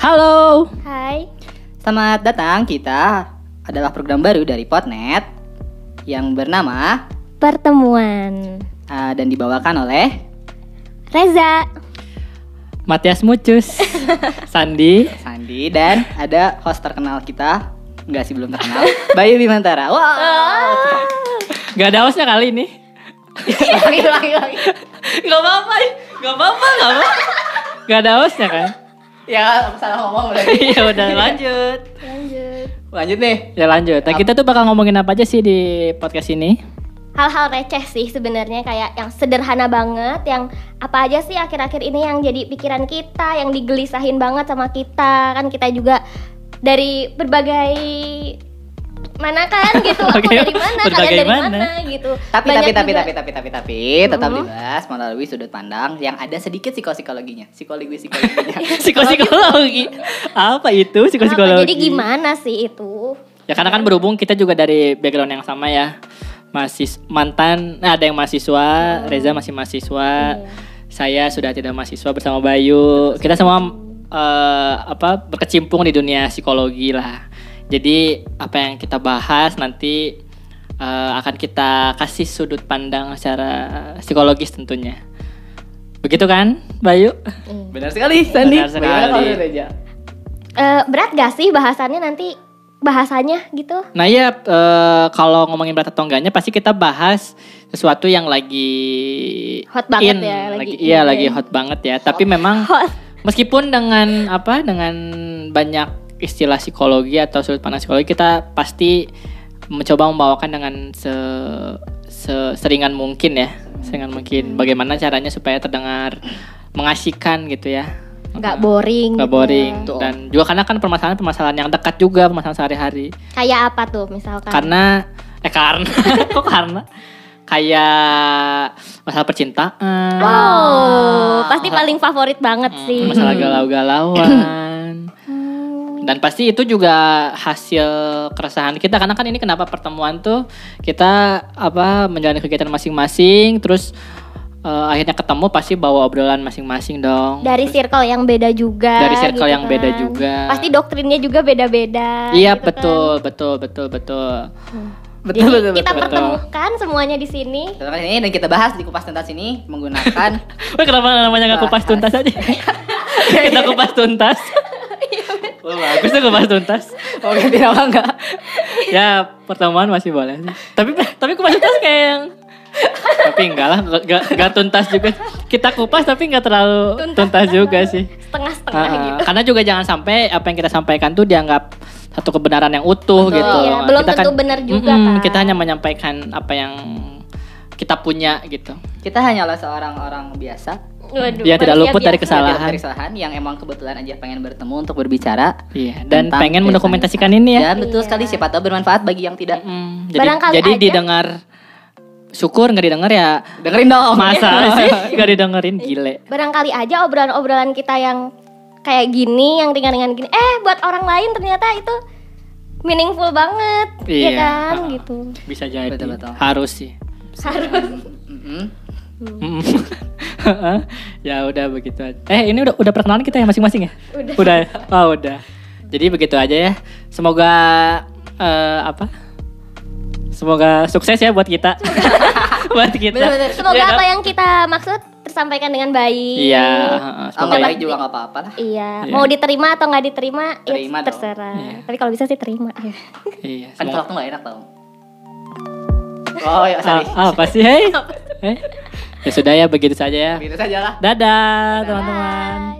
Halo, Hai, selamat datang. Kita adalah program baru dari Potnet yang bernama pertemuan ah, dan dibawakan oleh Reza. Matias Mucus, Sandi, Sandi dan ada host terkenal kita nggak sih belum terkenal Bayu Bimantara. Wow. gak ada hostnya kali ini. lagi lagi lagi. Gak apa-apa, gak apa-apa, gak apa. Gak ada hostnya kan? Ya aku salah ngomong udah. Iya udah lanjut. Lanjut. Lanjut nih. Ya lanjut. Nah, kita tuh bakal ngomongin apa aja sih di podcast ini? Hal-hal receh sih sebenarnya kayak yang sederhana banget, yang apa aja sih akhir-akhir ini yang jadi pikiran kita, yang digelisahin banget sama kita kan kita juga dari berbagai mana kan gitu, aku Berbagai- dari mana, kalian berbagai dari mana, mana? gitu. Tapi tapi Banyak tapi juga- tapi tapi tapi tapi tetap Mhm. dibahas melalui sudut pandang yang ada sedikit psikologinya, psikologi psikologinya. Psikopsikologi. Apa itu Kenapa? psikopsikologi? Jadi gimana sih itu? Ya karena kan berhubung kita juga dari background yang sama ya. Masih mantan, nah ada yang mahasiswa, Reza masih mahasiswa. Saya sudah tidak mahasiswa bersama Bayu. Kita semua eh, apa berkecimpung di dunia psikologi lah. Jadi apa yang kita bahas nanti eh, akan kita kasih sudut pandang secara psikologis tentunya. Begitu kan, Bayu? Hmm. Benar sekali, Sandi. Benar sekali. Bagaimana kalau Reza? Eh, berat gak sih bahasannya nanti bahasanya gitu? Nah ya eh, kalau ngomongin berat atau enggaknya pasti kita bahas sesuatu yang lagi Hot banget ya, lagi lagi, in, iya ya. Oh, lagi hot banget ya. Tapi memang Hot. meskipun dengan apa dengan banyak istilah psikologi atau sudut pandang psikologi kita pasti mencoba membawakan dengan se, se- seringan mungkin ya, seringan Hmm. mungkin. Bagaimana caranya supaya terdengar mengasyikan gitu ya. Nggak boring. Nggak gitu. boring Betul. dan juga karena kan permasalahan-permasalahan yang dekat juga permasalahan sehari-hari Kayak apa tuh misalkan? karena eh karena kok karena kayak masalah percintaan Oh, pasti paling favorit banget mm, sih. masalah galau-galauan Hmm, dan pasti itu juga hasil keresahan kita karena kan ini kenapa pertemuan tuh kita apa menjalani kegiatan masing-masing terus eh, akhirnya ketemu pasti bawa obrolan masing-masing dong Dari circle yang beda juga. Dari circle yang beda juga. gitu kan. Pasti doktrinnya juga beda-beda. iya gitu kan. betul, betul betul betul Betul Jadi betul kita betul. pertemukan semuanya di sini. Kita bahas ini dan kita bahas di kupas tuntas ini menggunakan Wah, kenapa namanya nggak kupas tuntas aja kita kupas tuntas Iya, Wah, bagus tuh kupas tuntas Oh ganti nama enggak? ya pertemuan masih boleh sih. tapi tapi kupas tuntas kayak yang tapi enggak lah enggak, enggak tuntas juga kita kupas tapi enggak terlalu tuntas, juga sih Setengah-setengah Ah, gitu. karena juga jangan sampai apa yang kita sampaikan tuh dianggap satu kebenaran yang utuh gitu Iya, belum tentu benar juga, Mm-mm, kan. kita hanya menyampaikan apa yang kita punya gitu Kita hanyalah seorang orang biasa Dia Waduh, Iya, tidak manusia luput dari biasa. kesalahan. yang tidak kesalahan yang emang kebetulan aja pengen bertemu untuk berbicara Iya, dan tentang pengen kehidupan. mendokumentasikan ini ya. Dan betul sekali siapa tahu bermanfaat bagi yang tidak. Mm, jadi Barangkali jadi aja. didengar syukur nggak didengar ya Dengerin dong. masa sih nggak didengerin gile. Barangkali aja obrolan-obrolan kita yang kayak gini, yang ringan-ringan gini. Eh, buat orang lain ternyata itu meaningful banget, ya Iya. kan? Ah. Gitu. Bisa jadi. Betul, betul. Harus sih. Harus. Mm-mm. Mm. ya udah begitu aja. Eh ini udah udah perkenalan kita ya masing-masing ya? Udah. Udah. ya? Oh, udah. Jadi begitu aja ya. Semoga eh, apa? Semoga sukses ya buat kita. buat kita. Bener-bener. Semoga Ya, apa yang kita maksud tersampaikan dengan baik. Iya, heeh, Oh, semoga nggak ya. baik juga nggak apa-apa lah. Iya, Iya. mau diterima atau nggak diterima, ya Terima dong. terserah. Iya. Tapi kalau bisa sih terima. Iya, Kan semoga- kalau tuh nggak enak tau. Oh ya sorry. Ah, apa sih, hei? Eh? Ya sudah ya, begitu saja ya. Begitu saja lah. Dadah, teman-teman. Bye.